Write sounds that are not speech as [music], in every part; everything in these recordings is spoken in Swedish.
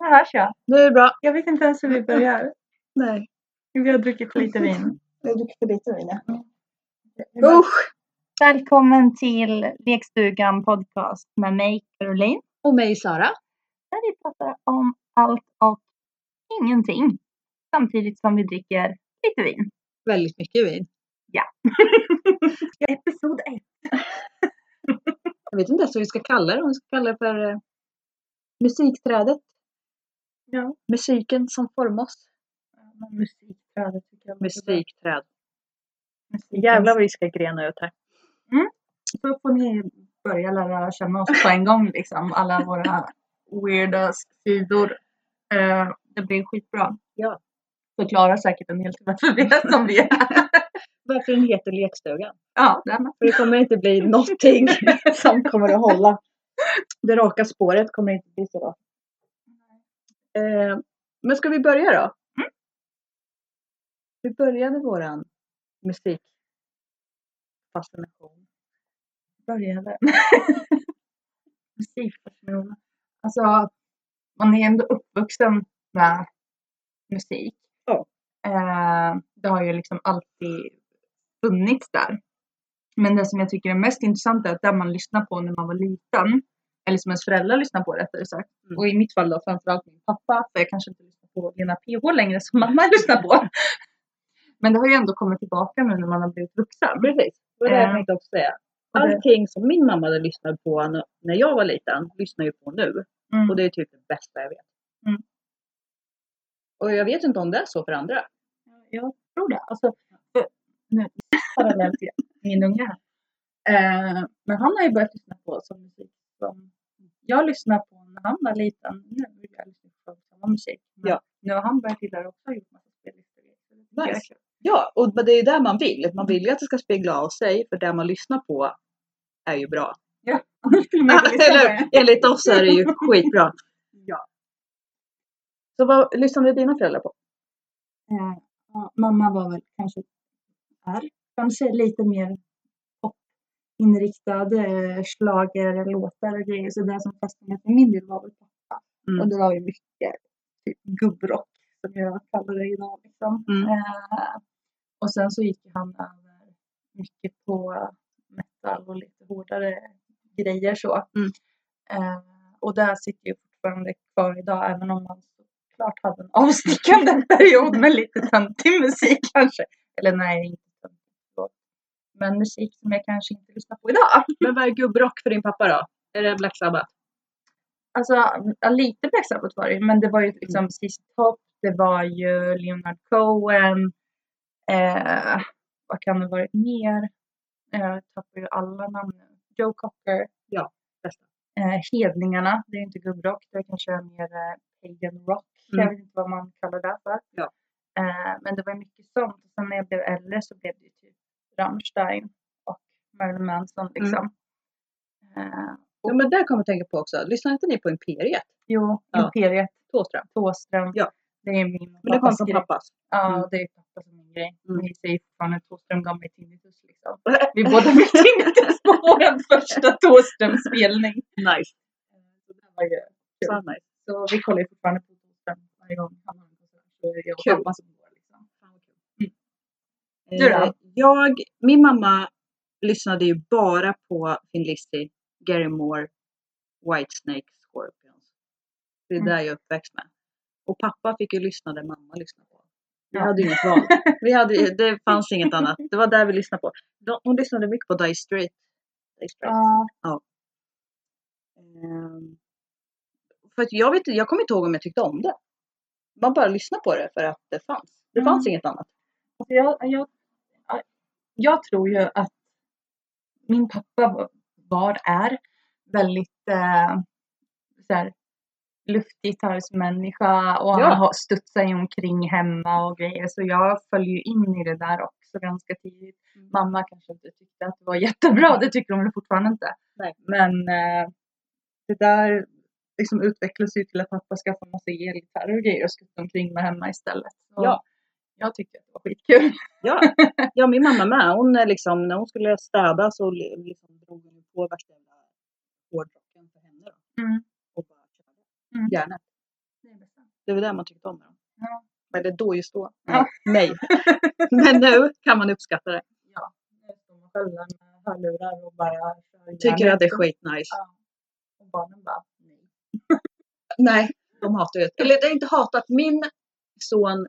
Här hörs jag. Nu är det bra. Jag vet inte ens hur vi börjar. [laughs] Nej. Vi har druckit för lite vin. Jag har druckit för lite vin. ja. Mm. Usch! Välkommen till Lekstugan podcast med mig Caroline. Och mig Sara. Där vi pratar om allt och ingenting. Samtidigt som vi dricker lite vin. Väldigt mycket vin. Episod 1. Jag vet inte ens vad vi ska kalla det. Om vi ska kalla det för eh, musikträdet. Ja. Musiken som formar oss. Musikträdet tycker jag. Musikträd. Musik. Jävlar vad vi ska grena ut här. Så får ni börja lära känna oss på en gång liksom. Alla våra weirda sidor. Eh, det blir skitbra. Ja. Förklarar säkert en del till varför vi är som [laughs] vi är. Varför den heter lekstugan. Ja, det är med. För det kommer inte bli någonting [laughs] som kommer att hålla. Det raka spåret kommer inte bli så rakt. Eh, men ska vi börja då? Mm. Vi började våran musikfascination började. [laughs] Musikfascination. Alltså, man är ändå uppvuxen med musik. Ja. Eh, det har ju liksom alltid funnits där. Men det som jag tycker är mest intressant är att det man lyssnar på när man var liten, eller som ens föräldrar lyssnar på rättare sagt, Mm. och i mitt fall då framförallt min pappa, för jag kanske inte lyssnar på Lena PH längre som mamma [laughs] lyssnar på. Men det har ju ändå kommit tillbaka nu när man har blivit vuxen. Precis, det var det jag Eh. tänkte också säga. Och det- Allting som min mamma hade lyssnat på n- när jag var liten lyssnar jag på nu. Mm. Och det är typ det bästa jag vet. Mm. Och jag vet inte om det är så för andra. Jag tror det. Alltså, för- nu, parallellt igen. Min unge här. Eh, men han har ju börjat lyssna på sån musik som jag lyssnade på när han var liten. Nu vill jag lyssna på samma musik. Men Ja. Nu har han börjat gilla det också och gjort massa spellistor. Så det tycker jag är Nice. kul. [laughs] Ja, och men det är ju det man vill. Man vill ju att det ska spegla av sig för det man lyssnar på är ju bra. Annars skulle man inte lyssna på [laughs] Eller det. hur? Enligt oss är det ju skitbra. [laughs] Ja. Så vad lyssnade dina föräldrar på? Eh, ja, mamma var väl kanske, är kanske lite mer popinriktad, eh, schlagerlåtar och grejer. Så det som fastnade för min del var väl pappa. Mm. Och det var ju mycket typ, gubbrock som jag kallar det idag. Liksom. Mm. Eh, och sen så gick ju han över mycket på metal och lite hårdare grejer så. Mm. Eh, och där sitter ju fortfarande kvar idag även om man såklart hade en avstickande [laughs] period med lite töntig musik kanske. Eller nej, inte töntig. förlåt. Men musik som jag kanske inte lyssnar på idag. Men vad är gubbrock för din pappa då? Är det Black Sabbath? Alltså ja, lite Black Sabbath var det ju, men det var ju liksom mm. Top, det var ju Leonard Cohen. Eh, vad kan det ha varit mer? Eh, Jag tappar ju alla namn nu. Joe Cocker. Ja, bästa. Eh, Hedningarna, det är ju inte gubbrock, det är kanske mer eh, pagan rock. Jag Mm. vet inte vad man kallar det för. Ja. Eh, men det var ju mycket sånt. Och sen när jag blev äldre så blev det ju typ Rammstein och Marilyn Manson Mm. liksom. Eh, Ja, men det kommer jag att tänka på också. Lyssnade inte ni på Imperiet? jo, Ja. Imperiet. Tåström. Thåström. Ja. Det är min Men det kom pappas från grej. pappas. Ja, Mm. det är pappa som min grej. Mm. Vi säger fortfarande att Thåström gav mig tinnitus. [laughs] Liksom. Vi båda fick tinnitus på vår första Thåström-spelning. Nice. Så det var ju- Så nice. Så vi kollar ju fortfarande på Thåström varje gång han har en konsert. Så är det jag och Kul. pappa som går. Liksom. Du Du då? då? Eh, Jag, min mamma lyssnade ju bara på Thin Lizzy, Gary Moore, Whitesnake, Scorpions. Det är Mm. där jag är uppväxt med. Och pappa fick ju lyssna där mamma lyssnade på. Vi Ja. hade ju inget val. Vi hade, [laughs] det fanns inget annat. Det var där vi lyssnade på. De, hon lyssnade mycket på Dire Straits. Dire Straits. Ja, Ehm, För att jag, vet, inte- jag kommer inte ihåg om jag tyckte om det. Man bara lyssnade på det för att det fanns. Det Mm. fanns inget annat. alltså jag, jag, jag tror ju att min pappa var- var, är väldigt eh, så här, luftgitarrsmänniska och Ja. han har- studsar ju omkring hemma och grejer. Så jag följer ju in i det där också ganska tidigt. Mm. Mamma kanske inte tyckte att det var jättebra, det tycker hon väl fortfarande inte. Nej. Men eh, det där liksom utvecklas ju till att pappa skaffade en massa elgitarrer och grejer och skuttade omkring med hemma istället. Så Ja. Jag tyckte att det var skitkul. Ja, ja min mamma med. Hon är liksom, när hon skulle städa så li- liksom drog hon på värsta jävla hårdrocken för henne. Då. Mm. Och bara körde. Mm. Gärna. Det var där man tyckte om dem. Ja. Eller då just då. Ja. Nej. [laughs] Men nu kan man uppskatta det. Nu står man själv där med hörlurar och bara kör Tycker järnet. att det är skitnice. Ja. Och barnen bara nej. Nej, de hatar ju det. Eller det är inte hatat. Min son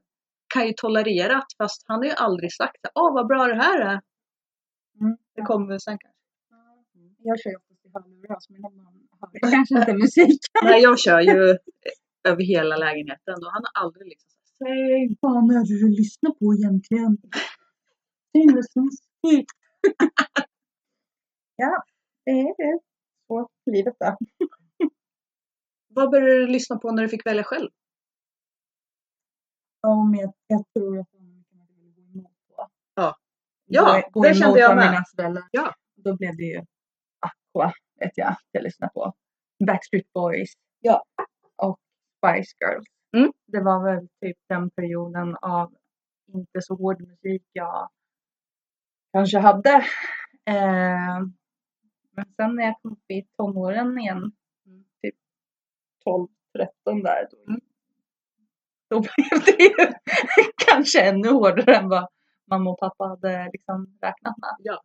kan ju tolerera att fast han har ju aldrig sagt det. Åh, vad bra det här är. Mm. Det kommer väl sen kanske. Jag kör ju oftast i hörlurar så mina barn hör Mm. kanske inte musik. Nej, jag kör ju eh, över hela lägenheten och han har aldrig liksom sagt Säg. fan är det du lyssnar på egentligen? Sinnesmusik. [laughs] ja, det är det. Så livet då. Vad började du lyssna på när du fick välja själv? Ja, men jag, jag tror att de kan vilja gå emot på. Ja. Ja, det kände emot jag vad med. Mina föräldrar. Ja. Då blev det ju Aqua, vet jag, jag lyssnade på. Backstreet Boys. Ja. Och Spice Girls. Mm. Det var väl typ den perioden av inte så hård musik jag kanske hade. Eh, men sen när jag kom upp i tonåren igen, Mm. typ 12-13 där, då, då [laughs] blev det ju kanske ännu hårdare än vad mamma och pappa hade liksom räknat med. Ja.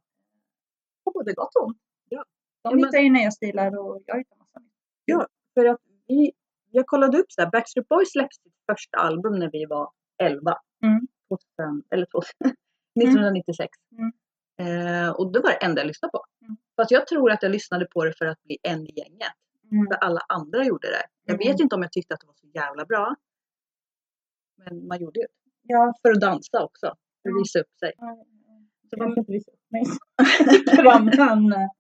På både gott och ont. Ja. De Ja, men- hittar ju nya stilar och jag hittar massa nytt. För att vi, jag kollade upp så här, Backstreet Boys släppte sitt första album när vi var 11. Mm. 2000, eller [laughs] 2000, 1996. Mm. Eh, och det var det enda jag lyssnade på. Mm. Fast jag tror att jag lyssnade på det för att bli en i gänget. För alla andra gjorde det. Jag Mm. vet inte om jag tyckte att det var så jävla bra. Men man gjorde det. Ja. För att dansa också. För Ja. att visa upp sig. Så man får inte visa upp [laughs] mig fram men,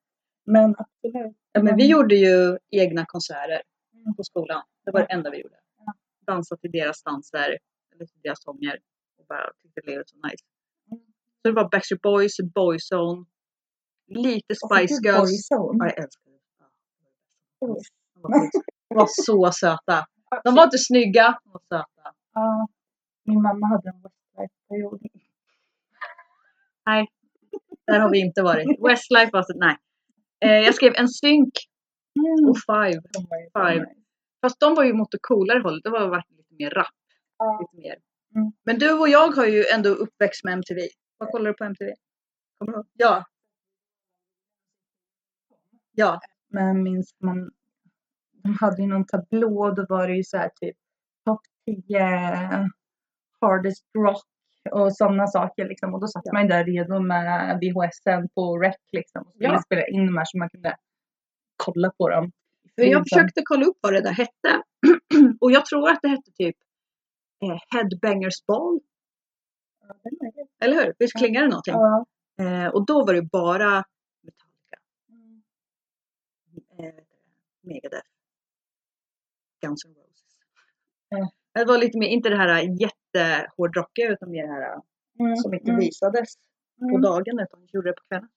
men eh, absolut. Ja, men vi Mm. gjorde ju egna konserter Mm. på skolan. Det var det enda vi gjorde. Ja. Dansa till deras danser, eller till deras sånger. Och bara tyckte det lät så nice. Mm. Så det var Backstreet Boys, Boyzone, lite Och så Spice typ Girls. Ja, Boyzone. jag älskar det. Ja. De var skit- De var [laughs] så söta. De var inte snygga, de var söta. Ja, Min mamma hade en Westlife-period. Där har vi [laughs] inte varit. Westlife var så, nej. Eh, jag skrev en synk Mm. och five. De var ju Five. nice. Fast de var ju mot det coolare hållet. Det var verkligen lite mer rap. Ja. lite mer. Mm. Men du och jag har ju ändå uppväxt med MTV. Vad kollar du på MTV? Kommer du ihåg? Ja. Ja. Men minns man, de hade ju någon tablå och då var det ju så här typ topp 10 hardest rock och sådana saker liksom. Och då satt Ja. man ju där redo med VHSen på rec liksom. Och skulle Ja. spela in de här så man kunde kolla på dem. För jag Mm, sen- försökte kolla upp vad det där hette. [clears throat] och jag tror att det hette typ eh, Headbangers ball. Eller hur? Visst klingar det någonting? Ja. Eh, och då var det bara Metallica. Mm. Eh, Megadeth. Guns N' Roses. Ja. Det var lite mer, inte det här jättehårdrockiga utan mer det här Mm. som inte Mm. visades. på [laughs] Mm. dagen utan gjorde det på kvällen.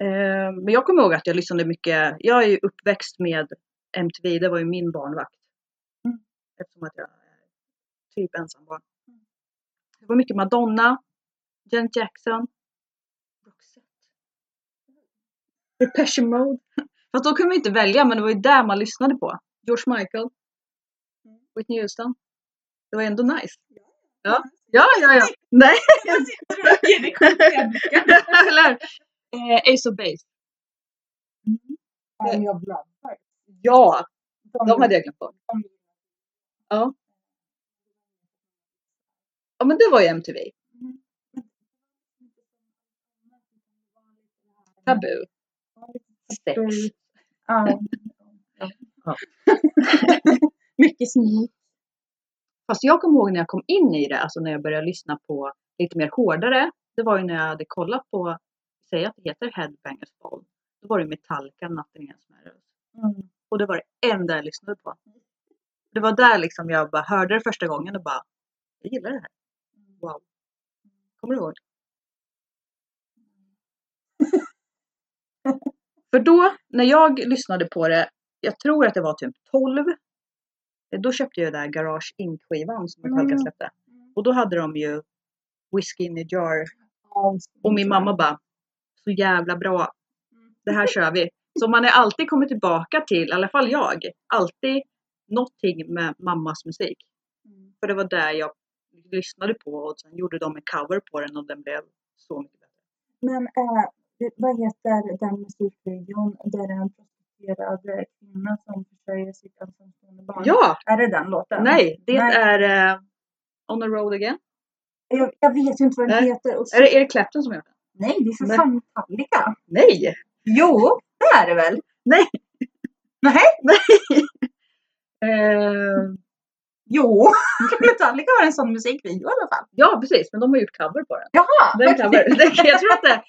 Eh, men jag kommer ihåg att jag lyssnade mycket. Jag är ju uppväxt med MTV. Det var ju min barnvakt. Mm. Eftersom att jag är typ ensambarn. Det var mycket Madonna, Janet Jackson, Roxette. Depeche Mode. Fast då kunde man ju inte välja men det var ju där man lyssnade på. George Michael. Mm. Whitney Houston. Det var ändå nice. Ja, ja, ja. [laughs] ja. Nej. Eller eh, Ace of Base. [laughs] Ja, jag bladdar. Ja, de De- hade jag glömt bort. Ja. Ja men det var ju MTV. Tabu. Sex. [laughs] Ja. Ja. [laughs] Mycket smidigt. Fast jag kommer ihåg när jag kom in i det, alltså när jag började lyssna på lite mer hårdare. Det var ju när jag hade kollat på, säg att det heter Headbangers Ball. Då var det Metallica, Nothing Else Matters. Mm. Och det var det enda jag lyssnade på. Det var där liksom jag bara hörde det första gången och bara, jag gillar det här. Wow. [laughs] Kommer du ihåg? För då, när jag lyssnade på det, jag tror att det var typ 12. Då köpte jag den där Garage Inc-skivan som Metallica Mm. släppte. Och då hade de ju Whiskey in a jar. Och min Mm. mamma bara, så jävla bra. Det här kör vi. Så man är alltid kommit tillbaka till, i alla fall jag, alltid någonting med mammas musik. Mm. För det var där jag lyssnade på och sen gjorde de en cover på den och den blev så mycket bättre. Men eh, det- vad heter den musikvideon där det är en prostituerad eh, kvinna som försörjer sitt ensamstående barn? Ja! Är det den låten? Nej, det Nej. är eh, On the Road Again. Jag, jag vet ju inte vad den Nej. heter. Och så, Äh, Är det Eric Clapton som gör det? Nej, det är för Nej. fan Metallica. Nej! Jo, det är det väl? Nej. Nej, Eh, [laughs] jo. Metallica har en sån musikvideo i alla fall. ja, precis. Men de har gjort cover på den. Jaha! den okej. [laughs] cover. den- Jag tror att det...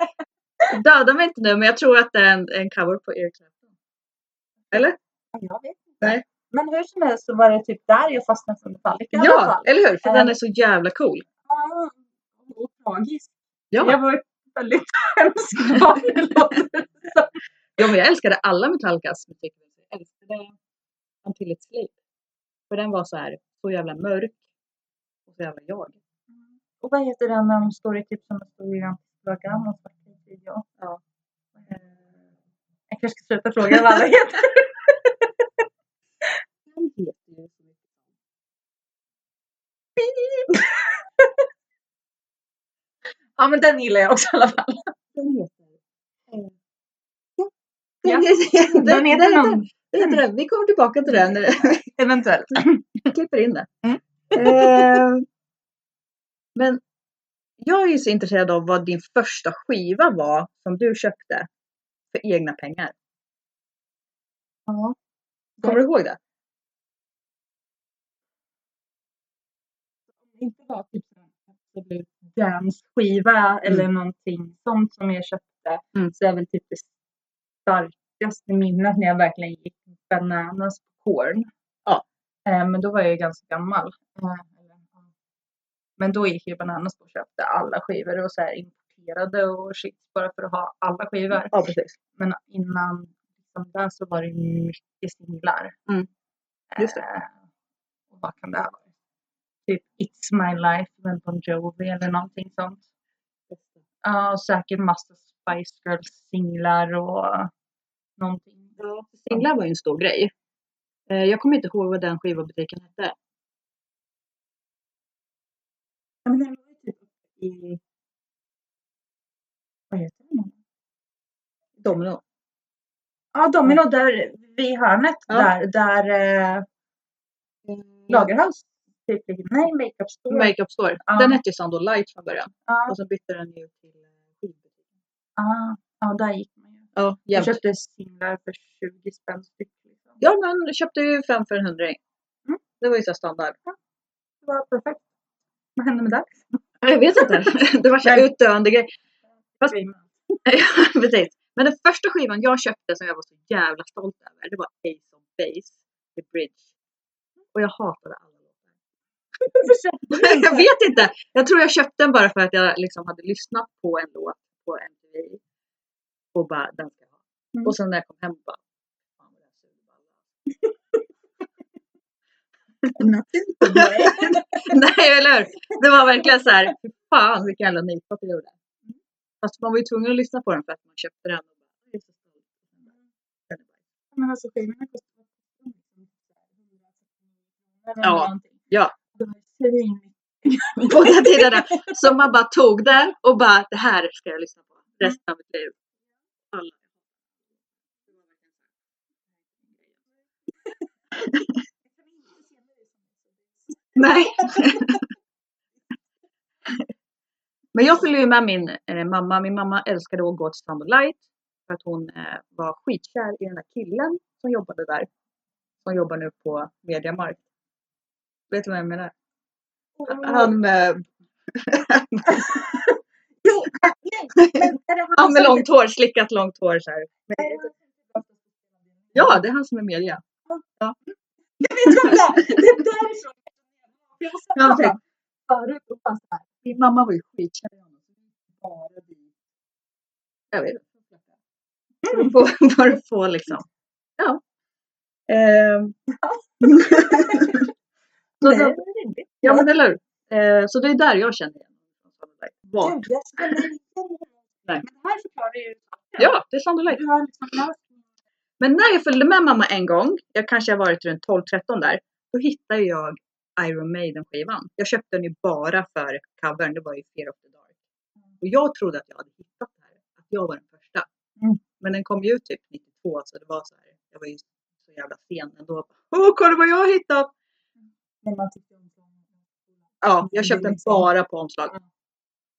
Döda mig inte nu, men jag tror att det är en, en cover på Eric Clapton. Eller? Jag vet inte. Nej. Men hur som helst så var det typ där jag fastnade för Metallica i alla Ja, fall. eller hur? För Eh. den är så jävla cool. Ja. Och tragiskt. Ja. Jag var ett väldigt [laughs] hemskt barn. det låter det som. Ja, men jag älskade alla Metallicas musik. Jag älskade Until It's Sleep. För den var så här, så jävla mörk. Och så jävla jag. Och vad heter den när de står i typ som en stor gigantisk program och snackar i video? Ja. Eh, Jag kanske ska sluta fråga vad alla heter. Den heter ju så mycket. [laughs] Ja men den gillar jag också i alla fall. Den heter... eh, Ja. Ja. Den, den, Den heter den, någon, den heter den. Vi kommer tillbaka till den när eventuellt. vi klipper in det. Mm. Eh, men jag är ju så intresserad av vad din första skiva var som du köpte för egna pengar. Ja. Kommer du ihåg det? Inte bara typ en dance-skiva eller någonting sånt som jag köpte. Mm. Så är väl typ det starkaste minnet när jag verkligen gick bananas på Korn. Ja. Eh, men då var jag ju ganska gammal. Eh, eller, ja. Men då gick jag bananas på och köpte alla skivor och så här importerade och shit bara för att ha alla skivor. Ja, precis. Men innan liksom där så var det ju mycket singlar. Mm. Just det. Eh, och vad kan det ha varit? Typ It's My Life med Bon Jovi eller någonting sånt. Ja, och säkert massa Spice Girls-singlar och någonting. Ja, för singlar var ju en stor grej. Eh, Jag kommer inte ihåg vad den skivbutiken hette. Ja, men den var ju typ i... Vad heter den? Domino. Ja, Domino där vid hörnet Ja. där, där eh, Lagerhals typ ligger. Nej, Makeup Store. Makeup Store. Ja. Den hette ju Sando Light från början. Ja, Och så bytte den ju till eh, skivbutiken. ah, ja, där gick man ju. Ja, Jag jämt. köpte singlar för 20 spänn styck. Liksom. Ja, man köpte ju fem för en hundring. Mm. Det var ju så här standard. [laughs] Det var perfekt. Vad hände med det? Jag vet inte. [laughs] det var så här Nej. utdöende grej. [laughs] Fast- Dream. Precis. Men den första skivan jag köpte som jag var så jävla stolt över, det var Ace of Base, The Bridge. Och jag hatade alla låtar. [laughs] jag vet inte. Jag tror jag köpte den bara för att jag liksom hade lyssnat på en låt på MTV. Och bara, den ska jag ha. Mm. Och sen när jag kom hem bara, fan vad det här suger bara. [laughs] Nej, eller hur? Det var verkligen så här, fy fan vilken jävla nypa jag gjorde. Fast man var ju tvungen att lyssna på den för att man köpte den. Och bara, "Det är så stolt." Men alltså skivorna kostade eller Ja, någonting. ja. Det var svinmycket. På den tiden där. Så man bara tog det och bara, det här ska jag lyssna på resten av mitt liv. Alla. Nej. Men jag följde ju med min eh, mamma. Min mamma älskade att gå till Sound of Light. För att hon eh, var skitkär i den här killen som jobbade där. Som jobbar nu på Mediamark. Vet du vad jag menar? Han eh, med, Jo, nej, men är det [laughs] han med som- långt hår, slickat långt hår så här. Är det han som- Ja, det är han som är media. Jag vet om det! [laughs] Det är därifrån. Jag har Ja, sett honom förut och bara [laughs] såhär. Min mamma var ju skitkär i honom. Bara vi. Jag vet inte. Bara få- Bara få liksom. Ja. Ehm. Så Nej, då- det är rimligt. Alltså, Ja men eller hur? Eh, Så det är där jag känner igen honom. Gud, jag känner igen honom. Nej. Men det här förklarar ju saken. Ja, det är Sandra Light. Du har liksom läst Men när jag följde med mamma en gång, jag kanske har varit runt 12-13 där, då hittade jag Iron Maiden-skivan. Jag köpte den ju bara för covern, det var ju Fear of the Dark. Och jag trodde att jag hade hittat det här, att jag var den första. Mm. Men den kom ju ut typ 92, så det var så här, jag var ju så jävla sen ändå. Åh, kolla vad jag har hittat! När man tyckte om Ja, Det är jag köpte den liksom- bara på omslag. Ja.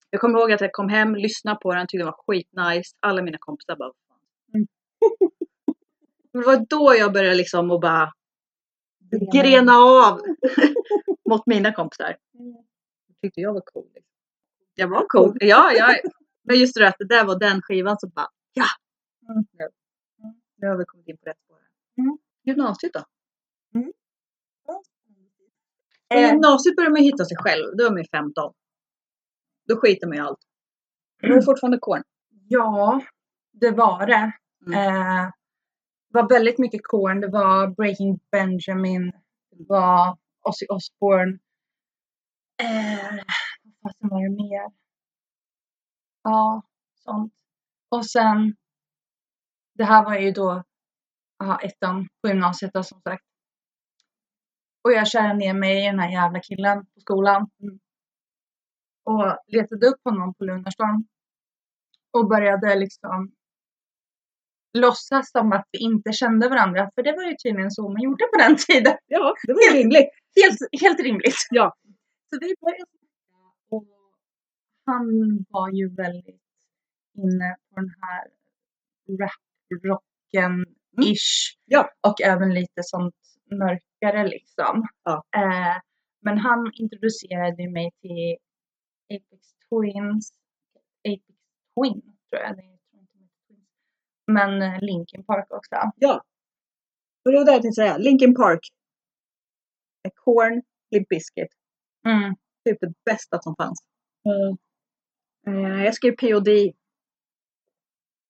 Jag kommer ihåg att jag kom hem, lyssnade på den, tyckte den var skitnice. Alla mina kompisar bara, "Fan." Mm. [laughs] Men Det var då jag började liksom och bara den. grena av [laughs] mot mina kompisar. Mm. Tyckte jag var cool. Jag var cool. Ja, jag, men just det där att det där var den skivan som bara, ja! Mm. Nu, nu har vi kommit in på rätt spår. Eh. här. Mm. Gymnasiet då? I Eh, gymnasiet börjar man hitta sig själv. Då är man ju 15. Då skiter man i allt. Men det är fortfarande korn. ja, det var det. Mm. Eh, det var väldigt mycket Korn. Det var Breaking Benjamin. Det var Ozzy Osbourne. Eh, vad fasen var det mer? Ja, sånt. Och sen, det här var ju då aha, ettan på gymnasiet då, som sagt. Och jag kärade ner mig i den här jävla killen på skolan. Och letade upp honom på Lunarstorm. Och började liksom låtsas som att vi inte kände varandra. För det var ju tydligen så man gjorde på den tiden. Ja, det var ju rimligt. Helt, helt rimligt. Ja. Så vi började snacka och han var ju väldigt inne på den här rap-rocken-ish. Mm. Ja. Och även lite sånt mörkare liksom. Ja. Eh, men han introducerade ju mig till Apex Twins. Apex Twin tror jag. Nej, jag tror inte det heter Twins. Men eh, Linkin Park också. Och det var det jag tänkte säga. Linkin Park. Korn, Limp Bizkit. Mm. Typ det bästa som fanns. Mm. Eh, Jag skrev POD,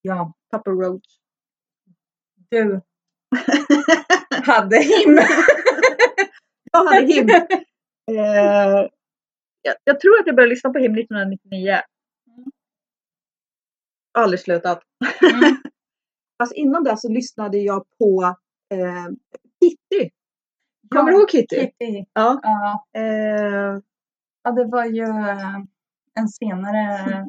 Ja, Papa Roach. [laughs] du hade himmel. jag hade him. Eh, jag, jag tror att jag började lyssna på him 1999. Mm. Aldrig slutat. Mm. [laughs] Fast innan det så lyssnade jag på eh, Kitty. Kommer du ihåg Kitty? Kitty. Ja. Ja. Eh, ja, det var ju eh, en senare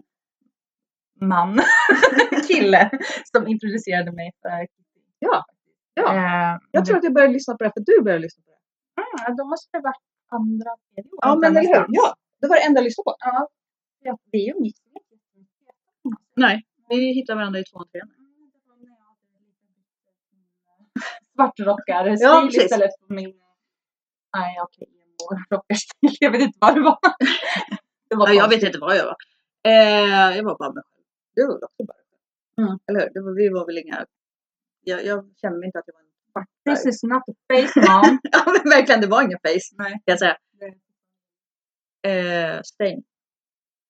man, [laughs] kille, som introducerade mig för Kitty. Ja, ja. Eh, jag tror att jag började lyssna på det för att du började lyssna på det. ja, då måste det varit andra, tredje året. Ja, men där eller hur? någonstans. Ja, det var det enda jag lyssnade på. ja. Ja, Mm, Det är ju mitt fel. Nej, vi hittar varandra i tvåan och trean. Svartrockar Ja, stil precis. istället för min... Nej, okej. Rockarstil. Jag vet inte vad det var. Det var Ja, jag konstigt. vet inte vad jag var. Eh, jag var bara mig själv. Du var väl också bara dig själv? Mm. Eller hur? Det var, vi var väl inga... Jag, jag kände inte att jag var en [laughs] svart. This is not a face mom. ja, men verkligen, det var ingen face. Nej. Kan jag säga. Nej. Eh, stain.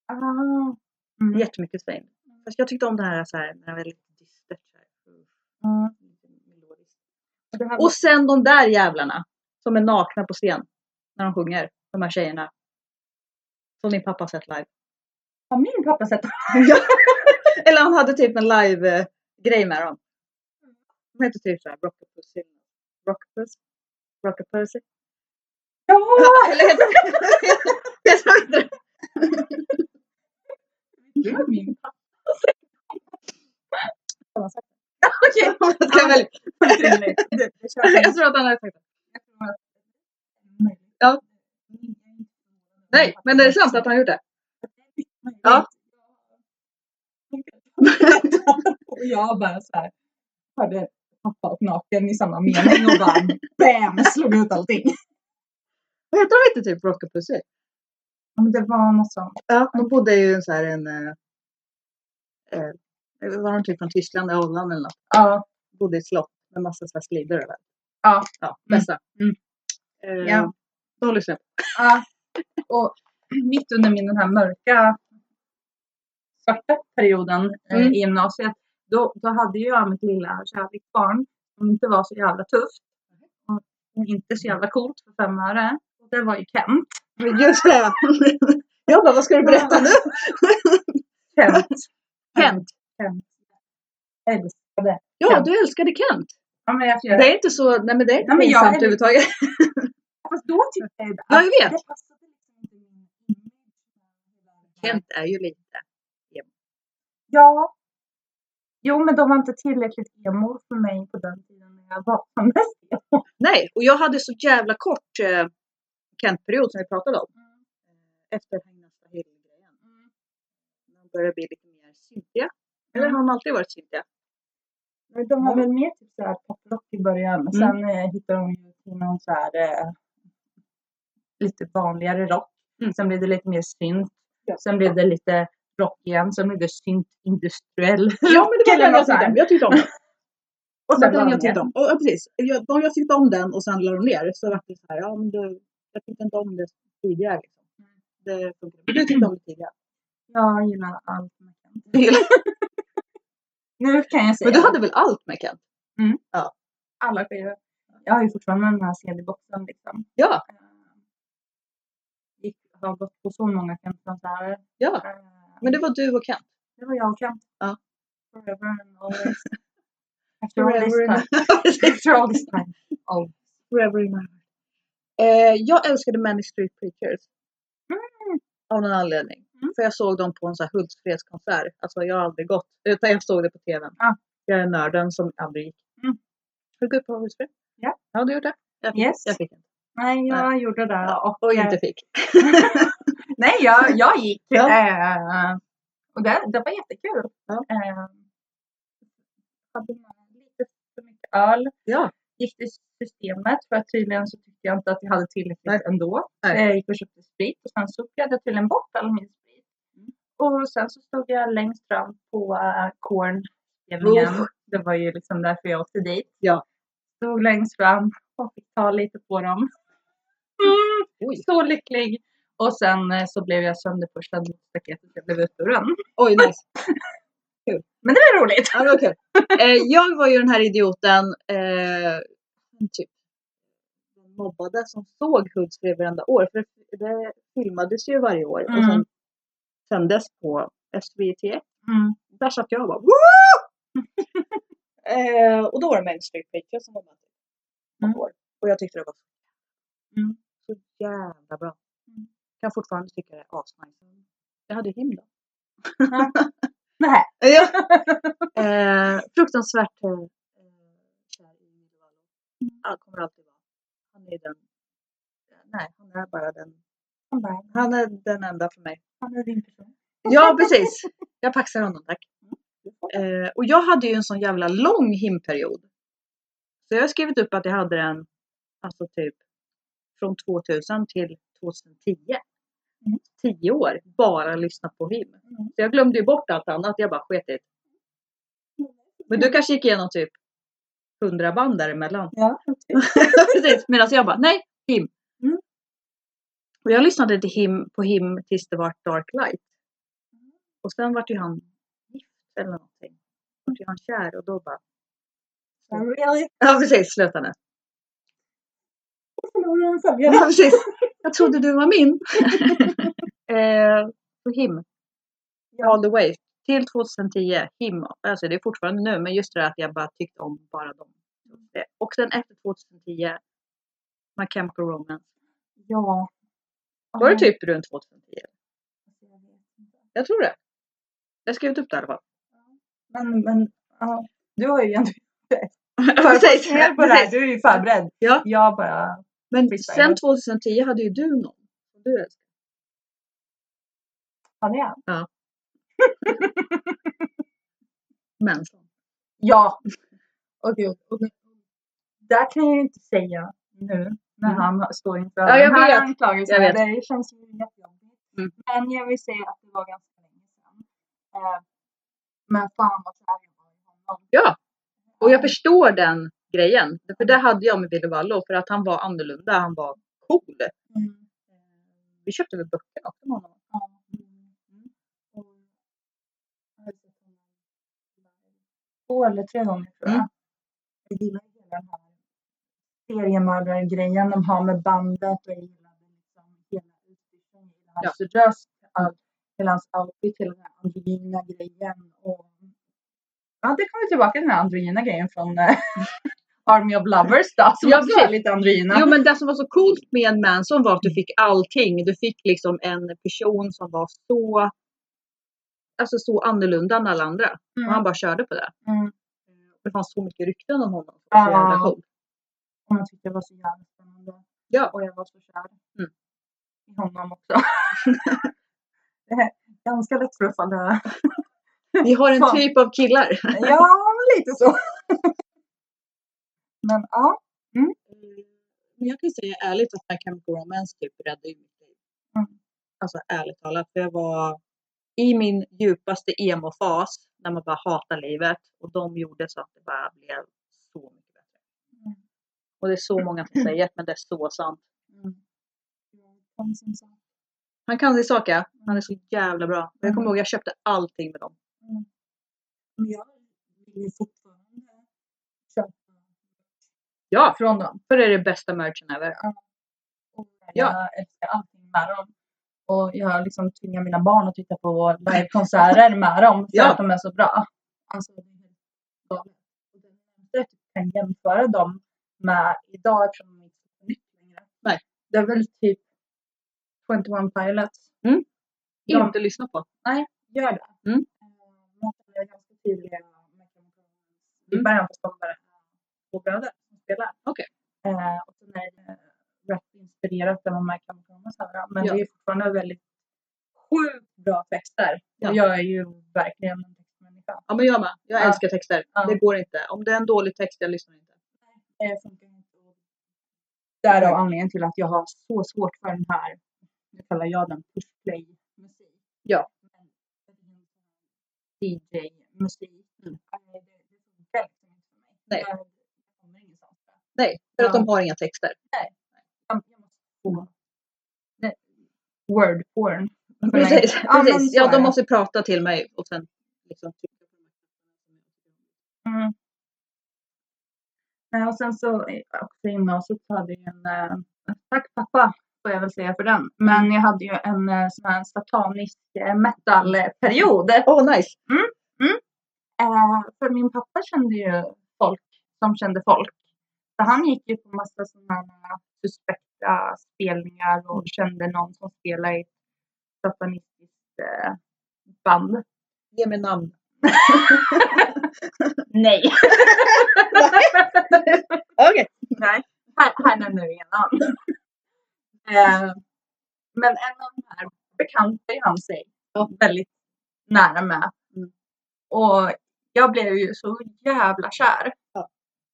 Ah. Mm. Jättemycket stain. Fast jag tyckte om det här, så här när det var lite dystert. så här. Mm. Melodiskt. Det här var- Och sen de där jävlarna som är nakna på scen när de sjunger. De här tjejerna. Som din pappa har sett live. Har min pappa sett Ja. Eller han hade typ en live-grej med dem. De heter typ såhär Rockapus. Rockapus? Rockapus? [laughs] Ja! Eller heter Jag tror inte det. Det var min pappa. Okej, jag ska välja. Otroligt. Det- det känns- Jag tror att han hade sagt det. jag tror att- Nej. Ja. Nej, men det är sant att han gjort det. Ja. Och jag bara så här. Hörde pappa och naken i samma mening och bara BAM! Slog ut allting. Vad heter de inte typ Rockapus? Ja, Men det var något sånt. Ja, de bodde ju i en så här en... eh, eh, Var de typ från Tyskland eller Holland eller något? Ja. Bodde i ett slott med massa så här slidor över. Ja. Ja, Mm. bästa. Mm. Eh, Ja. Då håller jag släpp. ja. Och mitt under min den här mörka svarta perioden eh, Mm. i gymnasiet. Då, då hade ju jag mitt lilla kärleksbarn som inte var så jävla tufft. Och, och inte så jävla coolt för fem öre. Och Det var ju Kent. Men Just det! [laughs] Jag bara, vad ska du berätta nu? Kent. Kent. [laughs] Älskade. Ja, Kent. du älskade Kent. Ja, men jag får göra Det är inte så, nej men det är inte Nej, men jag pinsamt är- överhuvudtaget. Fast då tyckte jag ju det. Ja, jag vet. Det passade liksom inte min image. [laughs] Kent är ju lite, Ja. Jo, men de var inte tillräckligt emo för mig på den tiden när jag var som mest emo. nej och jag hade så jävla kort eh, Kent-period som vi pratade om. Mm, eh, Efter Agnesta Hill-grejen. När de började bli lite mer syntiga. Eller har de alltid varit syntiga? Men De var väl mer typ såhär poprock i början. och Sen eh, hittade de ju till någon såhär eh, lite vanligare rock. Mm. Sen blev det lite mer synt. Ja. Sen blev det lite rock igen. Sen blev det synt industriell. Ja men det var Killen den var jag så här. tyckte om. Jag tyckte om den. Och Och sen sen den var jag de tyckte om. Och, ja, precis. Jag, de jag tyckte om den och sen la de ner. Så vart det så här, ja men det, jag tyckte inte om det tidigare. Liksom. Det funkar. Men du tyckte om det tidigare. Jag gillar allt med Kent. Nu kan jag säga Men du hade väl allt med Kent? alla skivor. Jag har ju fortfarande den här CD-boxen liksom. Ja, Eh, Gick, har gått på så många Kent-konserter. ja. Eh, Men det var du och Kent. Det var jag och Kent. Ja. Forever and [laughs] always. After all this Forever and- time. [laughs] After all this [laughs] time. Always. Forever in my heart. Eh, jag älskade Manic Street Preachers. Mm. Av någon anledning. Mm. För jag såg dem på en sån här Hultsfredskonsert. Alltså jag har aldrig gått. Utan jag såg det på tvn. Ah. Jag är nörden som aldrig gick. Mm. Har du gått på Hultsfred? Ja. Ja, du gjorde det? Jag fick, Yes. jag fick inte. Nej, jag gjorde det. Ja, och, och eh, inte fick. Nej, jag, jag gick. Ja. Eh, och det, det var jättekul. Ja. Eh, hade med lite för mycket öl. Ja. Gick till systemet för att tydligen så tyckte jag inte att jag hade tillräckligt Nej. ändå. Nej. Eh, Jag gick och köpte sprit och sen så gled jag tydligen bort all min sprit. Mm. Och sen så stod jag längst fram på äh, Korn. Oh. Det var ju liksom därför jag åkte dit. Ja. Stod längst fram och fick ta lite på dem. Mm. Oj. Så lycklig. Och sen eh, så blev jag sönderpushad mot staketet. Jag blev utburen. Oj, nice. Men det var roligt. [laughs] Ja, det var kul. Eh, jag var ju den här idioten, eh, typ, den mobbade som såg Hultsfred varenda år. För det, det filmades ju varje år och Mm. sen sändes på SVT. Mm. Där satt jag och bara [laughs] Woo! eh, Och då var det Main Street Pictures som var med. Mm. Mm. Och jag tyckte det var Mm. så jävla bra. Mm. Kan fortfarande tycka det är asnice. Jag hade him då. Nej. Ja. eh, fruktansvärt eh, eh, kär i Milo Han kommer alltid vara. Han är den. Nej, han är bara den. Han bara, Han är den enda för mig. han är din person. Ja, precis. Jag paxar honom, tack. Mm. Eh, och jag hade ju en sån jävla lång himperiod. Så jag har skrivit upp att jag hade den, alltså typ från 2000 till 2010. Mm. 10 år, bara lyssna på him. Mm. Så jag glömde ju bort allt annat, jag bara sket i det. Men du kanske gick igenom typ 100 band däremellan. Ja, [laughs] Precis, medan jag bara, nej, him. Mm. Och jag lyssnade till him, på him tills det var Dark Light. Och sen vart ju han gift eller någonting. Vart ju han kär och då bara, Really? ja precis, sluta nu. Jag förlorade en följare. Ja precis, jag trodde du var min. [laughs] eh, på him, all the way. Till 2010, him, alltså det är fortfarande nu, men just det där att jag bara tyckte om bara dem. Och sen efter 2010, My Chemical Romance. Ja. Var det typ runt 2010? Jag vet inte. Jag tror det. Jag har skrivit upp det i alla fall. Men, men, ja. Du har ju egentligen [laughs] [laughs] Precis, Här på det här. precis. Du är ju förberedd. Ja. Jag bara, Men Freestyle. sen 2010 hade ju du någon. som Du älskar. hade jag? Men som. Ja. Och gud. Och nu- där kan jag ju inte säga nu när Mm. han har- står inför Ja, jag den här vet. anklagelsen. Jag Det känns ju jättejobbigt. Mm. Men jag vill säga att det var ganska länge sedan. Eh, men fan vad kär jag var i honom. Ja. Och jag förstår den grejen. För det hade jag med Ville Vallo. För att han var annorlunda. Han var cool. Mm. Vi köpte väl böckerna också med honom. Ja. Mm. Och jag har sett honom Två eller tre gånger tror jag. Mm. Jag gillar ju hela den här seriemördargrejen de har med bandet och jag gillar liksom hela utbytningen i hans röst, all, hela hans outfit, hela den här androgyna grejen. Och, ja, det kommer tillbaka till den här androgyna grejen från eh, [laughs] Army of Lovers då, som Ja, också precis. är lite androgyna. Jo men det som var så coolt med en Manson var att du fick allting. Du fick liksom en person som var så, alltså så annorlunda än alla andra. Och han bara körde på det. Mm. Det fanns så mycket rykten om honom. Det var så Ja. jävla coolt. Och jag tyckte det var så jävla spännande. Ja. Och jag var så kär Mm. i honom också. [laughs] det är ganska [laughs] lättfluffande. Vi har en Fan. typ av killar. ja, men lite så. [laughs] men ja. Eh, Men jag kan säga ärligt att My Chemical Romance typ räddade ju mitt liv. Mm. Alltså ärligt talat. För jag var i min djupaste emo-fas. När man bara hatar livet. Och de gjorde så att det bara blev så mycket bättre. Mm. Och det är så många som säger men det är så sant. Mm. Kom som sagt. Han kan sin sak ja. Han är så jävla bra. Och Mm. Jag kommer ihåg jag köpte allting med dem. Men jag vill ju fortfarande köpa Ja! från dem. För det är det bästa merchen ever. Och Ja. jag älskar allting med dem. Och jag liksom tvingar mina barn att titta på livekonserter med dem för Ja. att de är så bra. Alltså, det är helt galet. Och det är typ kan jämföra dem med idag eftersom de inte är så nytt längre. Nej. Det är väl typ 21 Pilots. Mm. De Inte lyssna på. gör det. Eh, Mm. Man är ganska tydliga med i Mm. början på sommaren. Två bröder som spelar. Okej. Eh, och sen är det eh, rap inspirerat där man märker amerikanernas höra. Men Ja. det är fortfarande väldigt sjukt bra texter. Ja. Och jag är ju verkligen en textmänniska. Ja men jag med. Jag Ja. älskar texter. Ja. Det går inte. Om det är en dålig text jag lyssnar inte. Eh, funkar inte. Därav anledningen till att jag har så svårt för den här, nu kallar jag den push play musik. Ja. DJ-musik. Mm. Eh, det- det funkar liksom inte för mig. Nej. Jag- jag kommer ingenstans där. Nej, för att Ja. de har inga texter. Jag- jag måste få- Nej, Word porn. För mig. [laughs] Precis, Ja, men precis. så Ja, är det. de måste prata till mig och sen liksom trycka på mig. Mm. Nej, och sen så eh, också i gymnasiet så hade jag en, eh, tack pappa får jag väl säga för den. Men jag hade ju en eh, sån här satanisk eh, metalperiod. Åh, nice! Eh, för min pappa kände ju folk som kände folk. Så han gick ju på massa sådana här eh, suspekta spelningar och kände någon som spelade i ett satanistiskt eh, band. Ge mig namn. [laughs] Nej. Okej! Nej, här, här nämner vi ingen namn. Eh, men en av de här bekantade han sig Ja. väldigt nära med. Mm. Och jag blev ju så jävla kär. Ja.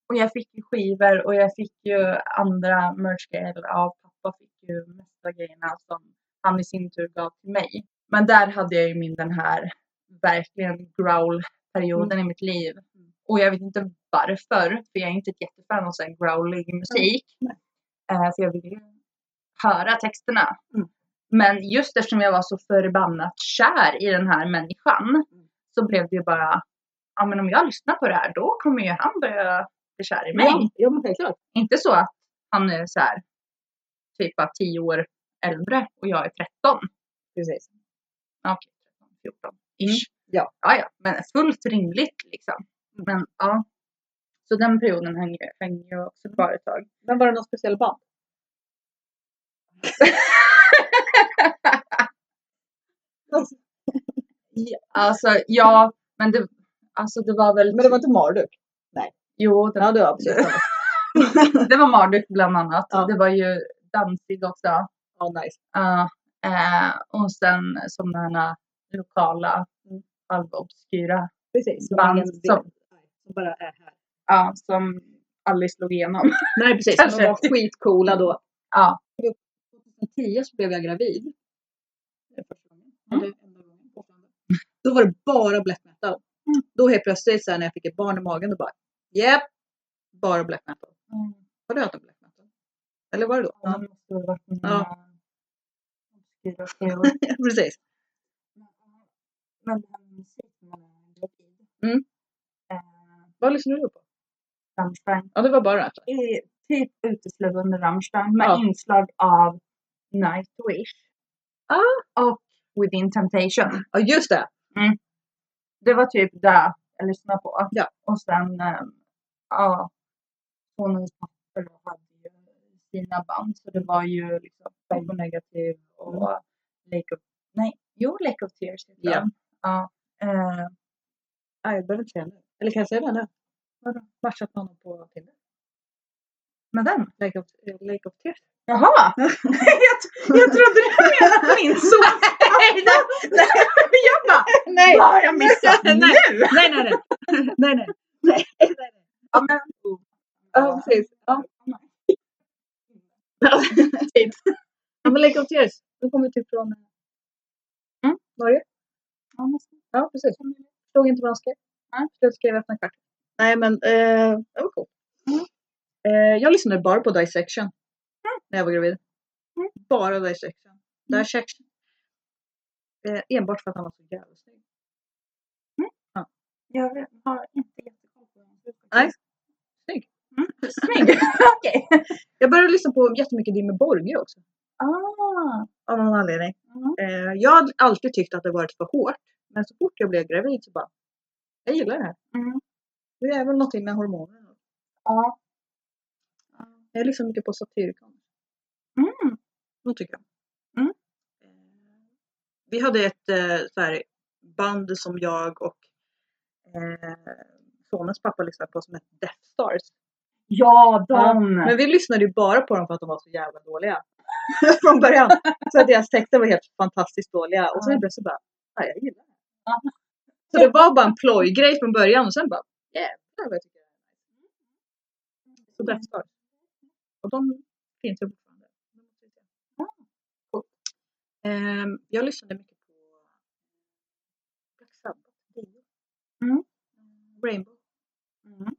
Och jag fick ju skivor och jag fick ju andra merchgrejer av pappa. Fick ju mesta grejerna som han i sin tur gav till mig. Men där hade jag ju min den här verkligen growl-perioden Mm. i mitt liv. Och jag vet inte varför, för jag är inte ett jättefan av sån growling musik. Nej. Eh, för jag vill ju höra texterna. Mm. Men just eftersom jag var så förbannat kär i den här människan Mm. så blev det ju bara, ja men om jag lyssnar på det här då kommer ju han börja bli kär i mig. Ja, ja, men självklart. Inte så att han är så här typ bara 10 år äldre och jag är 13. Precis. Ja, Okej, 13, 14 ish. ja. ja, ja, men fullt rimligt liksom. Mm. Men ja. Så den perioden häng, häng jag också kvar ett tag. Men var det något speciellt band? Alltså ja, men det, alltså, det var väl... Men det var inte Marduk? Jo, det, Ja, det [laughs] var absolut. det var Marduk bland annat. Ja. Det var ju Danzig också. Ja, nice. Ja, eh, och sen som den här lokala, Mm. halvobskyra. Precis. Band Ingen som- vet. Nej, som bara är här. Ja, som Alice slog igenom. Nej, precis. Kanske. De var skitcoola då. Ja. 2010 så blev jag gravid. Det är första gången. Mm. Eller enda gången. Då var det bara black metal. Mm. Då helt plötsligt så här, när jag fick ett barn i magen, då bara Japp! Bara black metal. Har du ätit black metal? Eller var det då? Ja, det måste väl varit min, Ja. eh, obskyra period. Ja, [laughs] precis. Men det här med musik när man är gravid. Mm. Eh, Vad lyssnade du på? Rammstein. Ja, det var bara det. I, typ uteslutande Rammstein med Ja. inslag av Nightwish. Ah. Och Within Temptation. Ja, just det! Det var typ det jag lyssnade på. Ja. Och sen, eh, ja. hon och hennes papper hade ju sina band. Så det var ju liksom Psycho Negative och Mm. Lake of... Nej, jo Lake of Tears heter Ja. den. Ja. Eh, Nej, jag behöver inte säga nu. Eller kan jag säga det nu? Vadå? Matchat med honom på Tinder. men den? Lake of, eh, Lake of [laughs] Tears. Jaha! [laughs] jag, tro- jag trodde du [laughs] menade min [laughs] son. nej, jag bara, [laughs] nej, vad har jag [laughs] missat Nej. nu? nej, nej, nej. nej, nej. nej, nej, nej. Ja, men, Ja, precis. Ja. [laughs] typ. Ja, men Lake of Tears. De kommer typ från eh, Mm. Norge. ja, men så- Ja, precis. Förstod inte vad han skrev. Nej. Slut skrev efter en kvart. Nej, men eh, det var coolt. Mm. Eh, jag lyssnade bara på Dissection när jag var gravid. Mm. Bara Dissection. Dissection. Eh, enbart för att han var så jävla snygg. jag vet- har inte jättekoll på den. Nej. Snygg. Mm, snygg! Okej. Jag började lyssna på jättemycket Dimmy Borgir också. Ah, Av någon anledning. mm. Eh, jag har alltid tyckt att det varit för hårt. Men så fort jag blev gravid så bara, jag gillar det här. Mm. Det är väl någonting med hormonerna. Ja. Jag lyssnar mycket på Satyricon. Mm. De tycker jag. Mm. Eh, Vi hade ett eh, så här, band som jag och eh, sonens pappa lyssnade på som hette Death Stars. Ja, Ja, de! Men vi lyssnade ju bara på dem för att de var så jävla dåliga. [laughs] Från början. Så att deras texter var helt fantastiskt dåliga. Och så Ja. blev det så bara, ja jag gillar det. Ja. Så det var bara en plojgrej från början och sen bara, jävlar vad jag tycker det här är Mm. nice." Så Death Star. Och de finns ju fortfarande. Cool. Ehm, jag lyssnade mycket på Black Sabbath, Dio, Mm. Rainbow. Mm.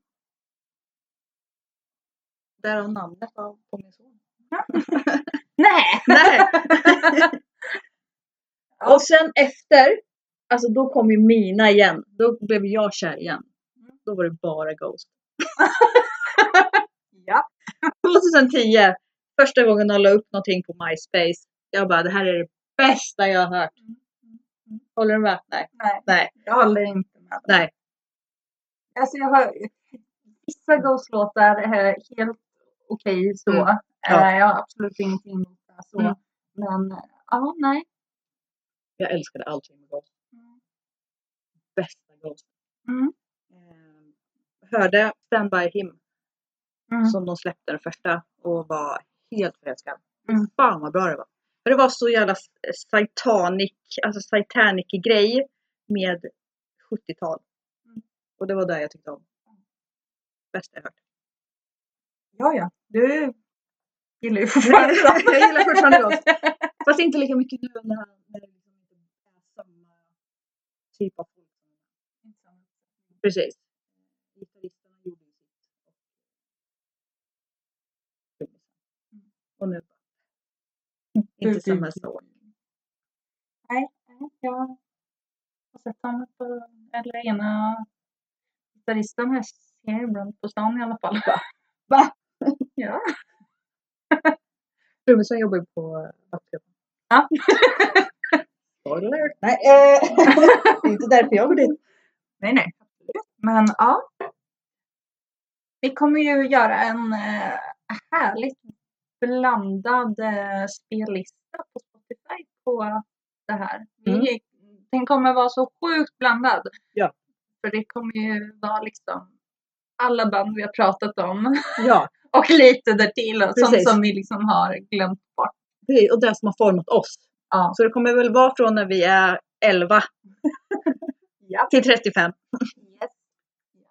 Därav namnet av på min son. Nej! Nej! [laughs] Och sen efter, alltså då kom ju mina igen. Då blev jag kär igen. Då var det bara Ghost. Ja. 2010, första gången jag la upp någonting på MySpace. Jag bara, det här är det bästa jag har hört. Håller du med? Nej. Mm, Nej. Nej. Jag håller inte med. Nej. Alltså jag har vissa Ghost-låtar är helt okej så. Mm. Ja. Eh, Jag har absolut ingenting emot det. Så. Mm. Men eh, ja, nej. Jag älskade allting med Ghost. Mm. Bästa Ghost. Mm. Ehm, Hörde Stand By Him Mm. som de släppte den första och var helt förälskad. Mm. Fan vad bra det var. För det var så jävla s- satanic, alltså satanic grej med 70-tal. Mm. Och det var det jag tyckte om. Bästa [laughs] jag hört. Ja, ja. Du gillar ju fortfarande dem. jag gillar fortfarande Ghost. Fast inte lika mycket nu när han när det liksom inte är samma typ av folk. Precis. Gitarristerna gjorde ju sitt. Mm. Och nu [laughs] inte samma sak. Nej, Jag har sett honom på, eller ena gitarristen här ser jag ibland på stan i alla fall. Va? Ja. Trummisen jobbar ju på nattklubben. Ja. [laughs] Spoiler! Nej, eh, [laughs] det är inte därför jag går dit. Nej, nej. Men ja. Vi kommer ju göra en eh, härligt blandad eh, spellista på Spotify på det här. Vi, Den kommer vara så sjukt blandad. Ja. För det kommer ju vara liksom alla band vi har pratat om [laughs] Ja, och lite därtill och sånt Precis. som vi liksom har glömt bort. precis. och det som har format oss. Ja. Så det kommer väl vara från när vi är [laughs] 11 Ja. till 35. Yes.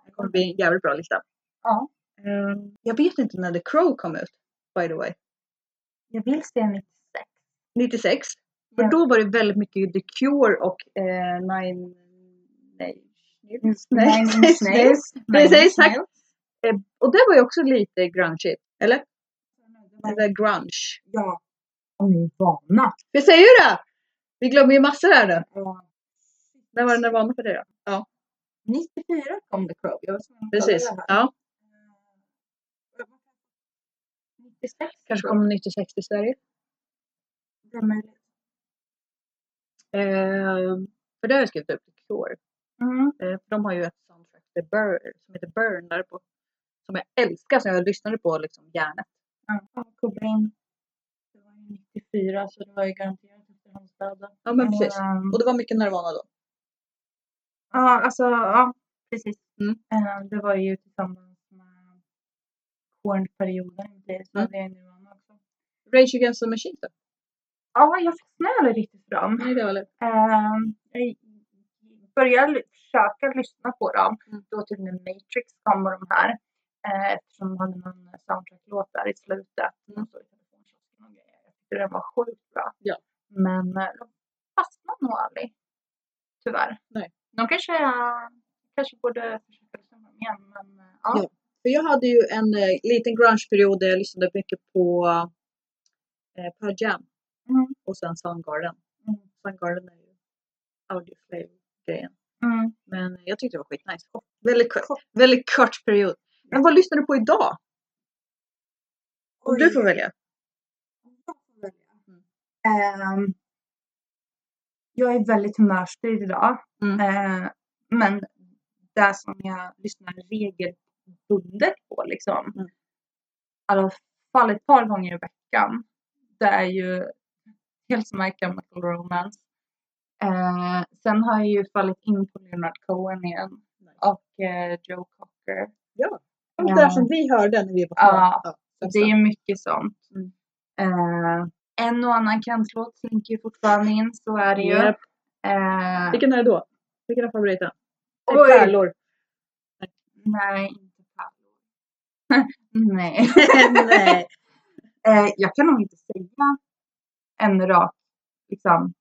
Det kommer bli en jävligt bra lista. Ja. Ehm, jag vet inte när The Crow kom ut, by the way. Jag vill se 96. 96. För Ja. då var det väldigt mycket The Cure och eh, Nine... Nej. Mm. [laughs] Nej. Mm, Nine Inch Nails. [laughs] Nine Inch Precis, tack. Nails. Eh, och det var ju också lite grunge eller? Nej. Eller grunge. Ja. Om ni är vana. Vi säger ju det! Vi glömmer ju massor här nu. Ja. När var den där vana för dig då? 94 kom The Crow. Jag var tvungen att kolla Precis. det här. Ja. 96 Kanske kom 96 i Sverige. Det är möjligt. Eh, för det har jag skrivit upp i år. Mm. Eh, för de har ju ett soundtrack, The Burn, som heter Burn där på. som jag älskar, som jag lyssnade på liksom hjärnet. Ja, Cobain. Det var ju 94 så det var ju garanterat efterhandsdöda. Ja, men precis. Ehm, Och det var mycket Nirvana då. Ja, alltså ja, precis. Mm. Eh, det var ju tillsammans med Kornperioden. Det så Mm. hade jag Nirvana också. Rage Against the Machine då? Ja, jag fastnade aldrig riktigt för dem. Nej, det var lite. Ehm, jag började ly- försöka lyssna på dem. Mm. Då typ när Matrix kom och de här. Eh, eftersom de hade någon soundtrack-låt där i slutet. Mm. Mm. Så jag tyckte den var sjukt bra. Ja. Men eh, de fastnade nog aldrig. Tyvärr. Nej. De kanske, eh, kanske borde försöka lyssna på dem igen. Men eh, ja. Ja. För jag hade ju en eh, liten grunge-period där jag lyssnade mycket på eh, Pearl Jam Mm. och sen Soundgarden. Mm. Soundgarden är ju audioflame-grejen. Mm. Men jag tyckte det var skitnice. Och väldigt kort, väldigt kort period. Men vad lyssnar du på idag? Om du får välja. Mm. Ehm, jag är väldigt humörstyrd idag. Mm. Eh, men det som jag lyssnar regelbundet på, liksom, Mm. i alla fall ett par gånger i veckan, det är ju helt som My Chemical Romance. Eh, sen har jag ju fallit in på Leonard Cohen igen Nice. och eh, Joe Cocker. Ja. men Det där som vi hörde när vi var små. Ja. Ja, Det är mycket sånt. Mm. Eh, en och annan kantlåt slinker ju fortfarande in, så är det ju. Japp. Eh, Vilken är det då? Vilken är favoriten? Det Oj. [laughs] är pärlor. Nej, inte pärlor. [laughs] Nej. Nej. Eh, jag kan nog inte säga en rak liksom,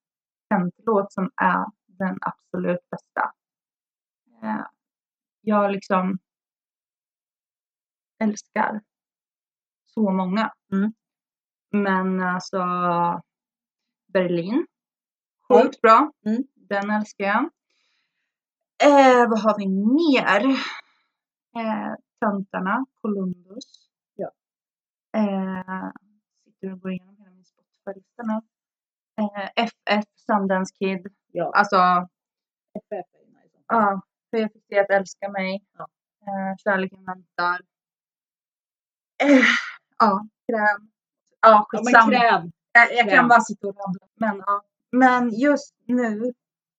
kantlåt som är den absolut bästa. Eh, jag liksom älskar så många. Mm. Men alltså Berlin. Mm. Sjukt bra. Mm. Den älskar jag. Eh, vad har vi mer? Eh, Töntarna, Columbus. Ja. Eh, sitter och går igenom hela min Spotify-lista nu. Eh, FF, Sundance Kid. Ja. Alltså FF är ju nice. Ja, för jag fick det att älska mig. Ja. Eh, kärleken väntar. Eh, ja, kräm. Ja, Ja, men skitsamma. kräm. jag, jag kräm. kan bara sitta och rabbla. Men, ja. men just nu,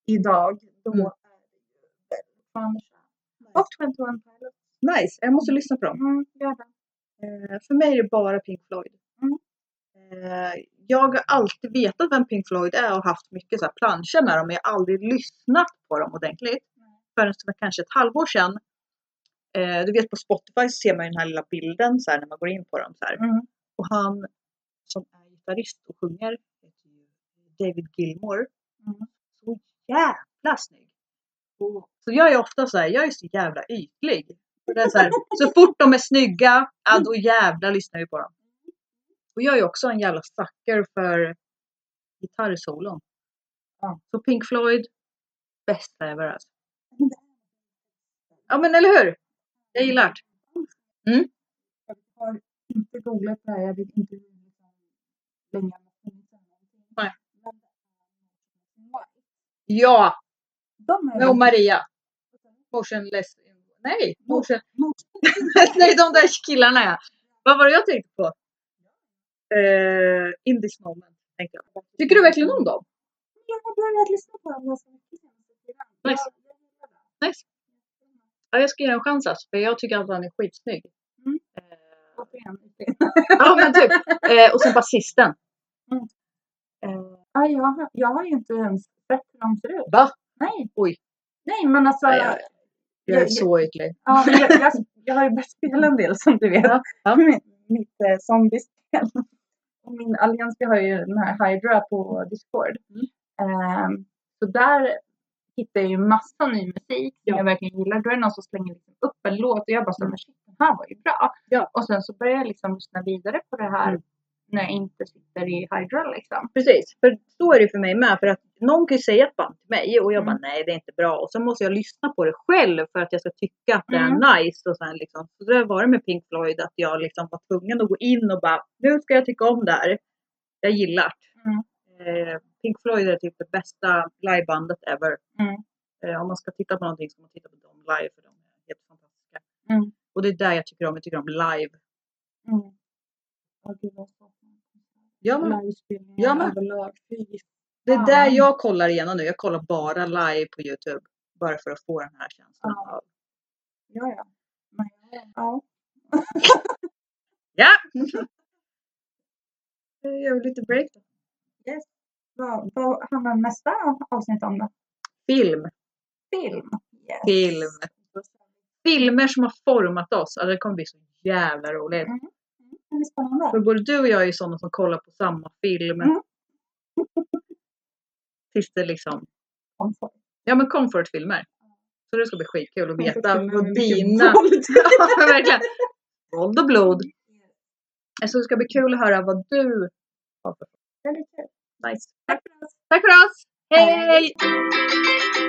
idag, då Mm. är det ju Fan, Nice. Och 21 Pilots. nice. Jag måste lyssna på dem. Mm, gör det. Eh, för mig är det bara Pink Floyd. Mm. Eh, jag har alltid vetat vem Pink Floyd är och haft mycket så här planscher med dem men jag har aldrig lyssnat på dem ordentligt. Nej. Förrän för kanske ett halvår sedan. Eh, du vet på Spotify så ser man ju den här lilla bilden så här, när man går in på dem. Så här. Mm. Och han som är gitarrist och sjunger heter ju David Gilmore. Mm. Så jävla snygg! Så jag är ofta så här, jag är så jävla ytlig. Så, det är så, här, så fort de är snygga, ja, då jävla lyssnar vi på dem. Och jag är också en jävla sucker för gitarrsolon. Ja. Så Pink Floyd, bästa ever alltså. Ja men eller hur! Jag gillar det. Jag har inte googlat det här. Jag vet inte liksom hur länge jag har funnits. Nej. Men det är- Ja! De är Och Maria. Motionless. Nej! Motion... [laughs] Mot- Nej, de där killarna ja. Vad var det jag tänkte på? Eh, in this moment. Tänkte jag. Tycker du verkligen om dem? Jag har börjat lyssna på dem ganska mycket senaste tiden. Nice. Jag- jag gillar dem. Nice. Ja, jag ska ge en chans alltså, för jag tycker att han är skitsnygg. Mm. Eh, Återigen. [laughs] ja, men typ. Eh, och sen basisten. Mm. Eh, ja, jag, har- jag har ju inte ens sett hur de ser ut. Va? Nej. Oj. Nej, men alltså. Ja, Ja, jag, jag är så ytlig. men jag, jag, jag har ju börjat spela en del som du vet. Ja, ja. Mitt, mitt eh, zombiespel. Och min allians, vi har ju den här Hydra på Discord. Mm. Ehm, så där hittar jag ju massa ny musik som Ja. jag verkligen gillar. Då är det någon som slänger liksom upp en låt och jag bara så här, men shit, den här var ju bra. Ja. Och sen så börjar jag liksom lyssna vidare på det här Mm. när jag inte sitter i Hydra liksom. Precis, för så är det för mig med. För att någon kan ju säga ett band till mig och jag Mm. bara nej det är inte bra. Och så måste jag lyssna på det själv för att jag ska tycka att det Mm. är nice. Och sen liksom. Så där var det med Pink Floyd att jag liksom var tvungen att gå in och bara nu ska jag tycka om det här. Jag gillar det. Mm. Eh, Pink Floyd är typ det bästa livebandet ever. Mm. Eh, om man ska titta på någonting ska man titta på dem live för de är helt fantastiska. Mm. Och det är där jag tycker om, jag tycker om live. Mm. Ja, gud vad jag saknar Ja, men livespelningar Ja, men- överlag. Fy det är fan. där jag kollar igenom nu. Jag kollar bara live på Youtube. Bara för att få den här känslan. Ja. av- Ja, ja. Men, ja. Ja! Jag gör lite break då. Vad, vad handlar nästa avsnitt om då? Film. Film. Yes. Film. Filmer som har format oss. Alltså, det kommer bli så jävla roligt. Mm, Det är spännande. För både du och jag är ju sådana som kollar på samma film. Mm. [laughs] Tills det liksom... Komfort. Ja men comfortfilmer. Så det ska bli skitkul att veta Komfortfilmer med mycket vad dina... våld. [laughs] ja verkligen. Våld och blod. Så det ska bli kul att höra vad du har för Det är lite kul. nice. Tack för oss. Tack för oss! Hej! Hej.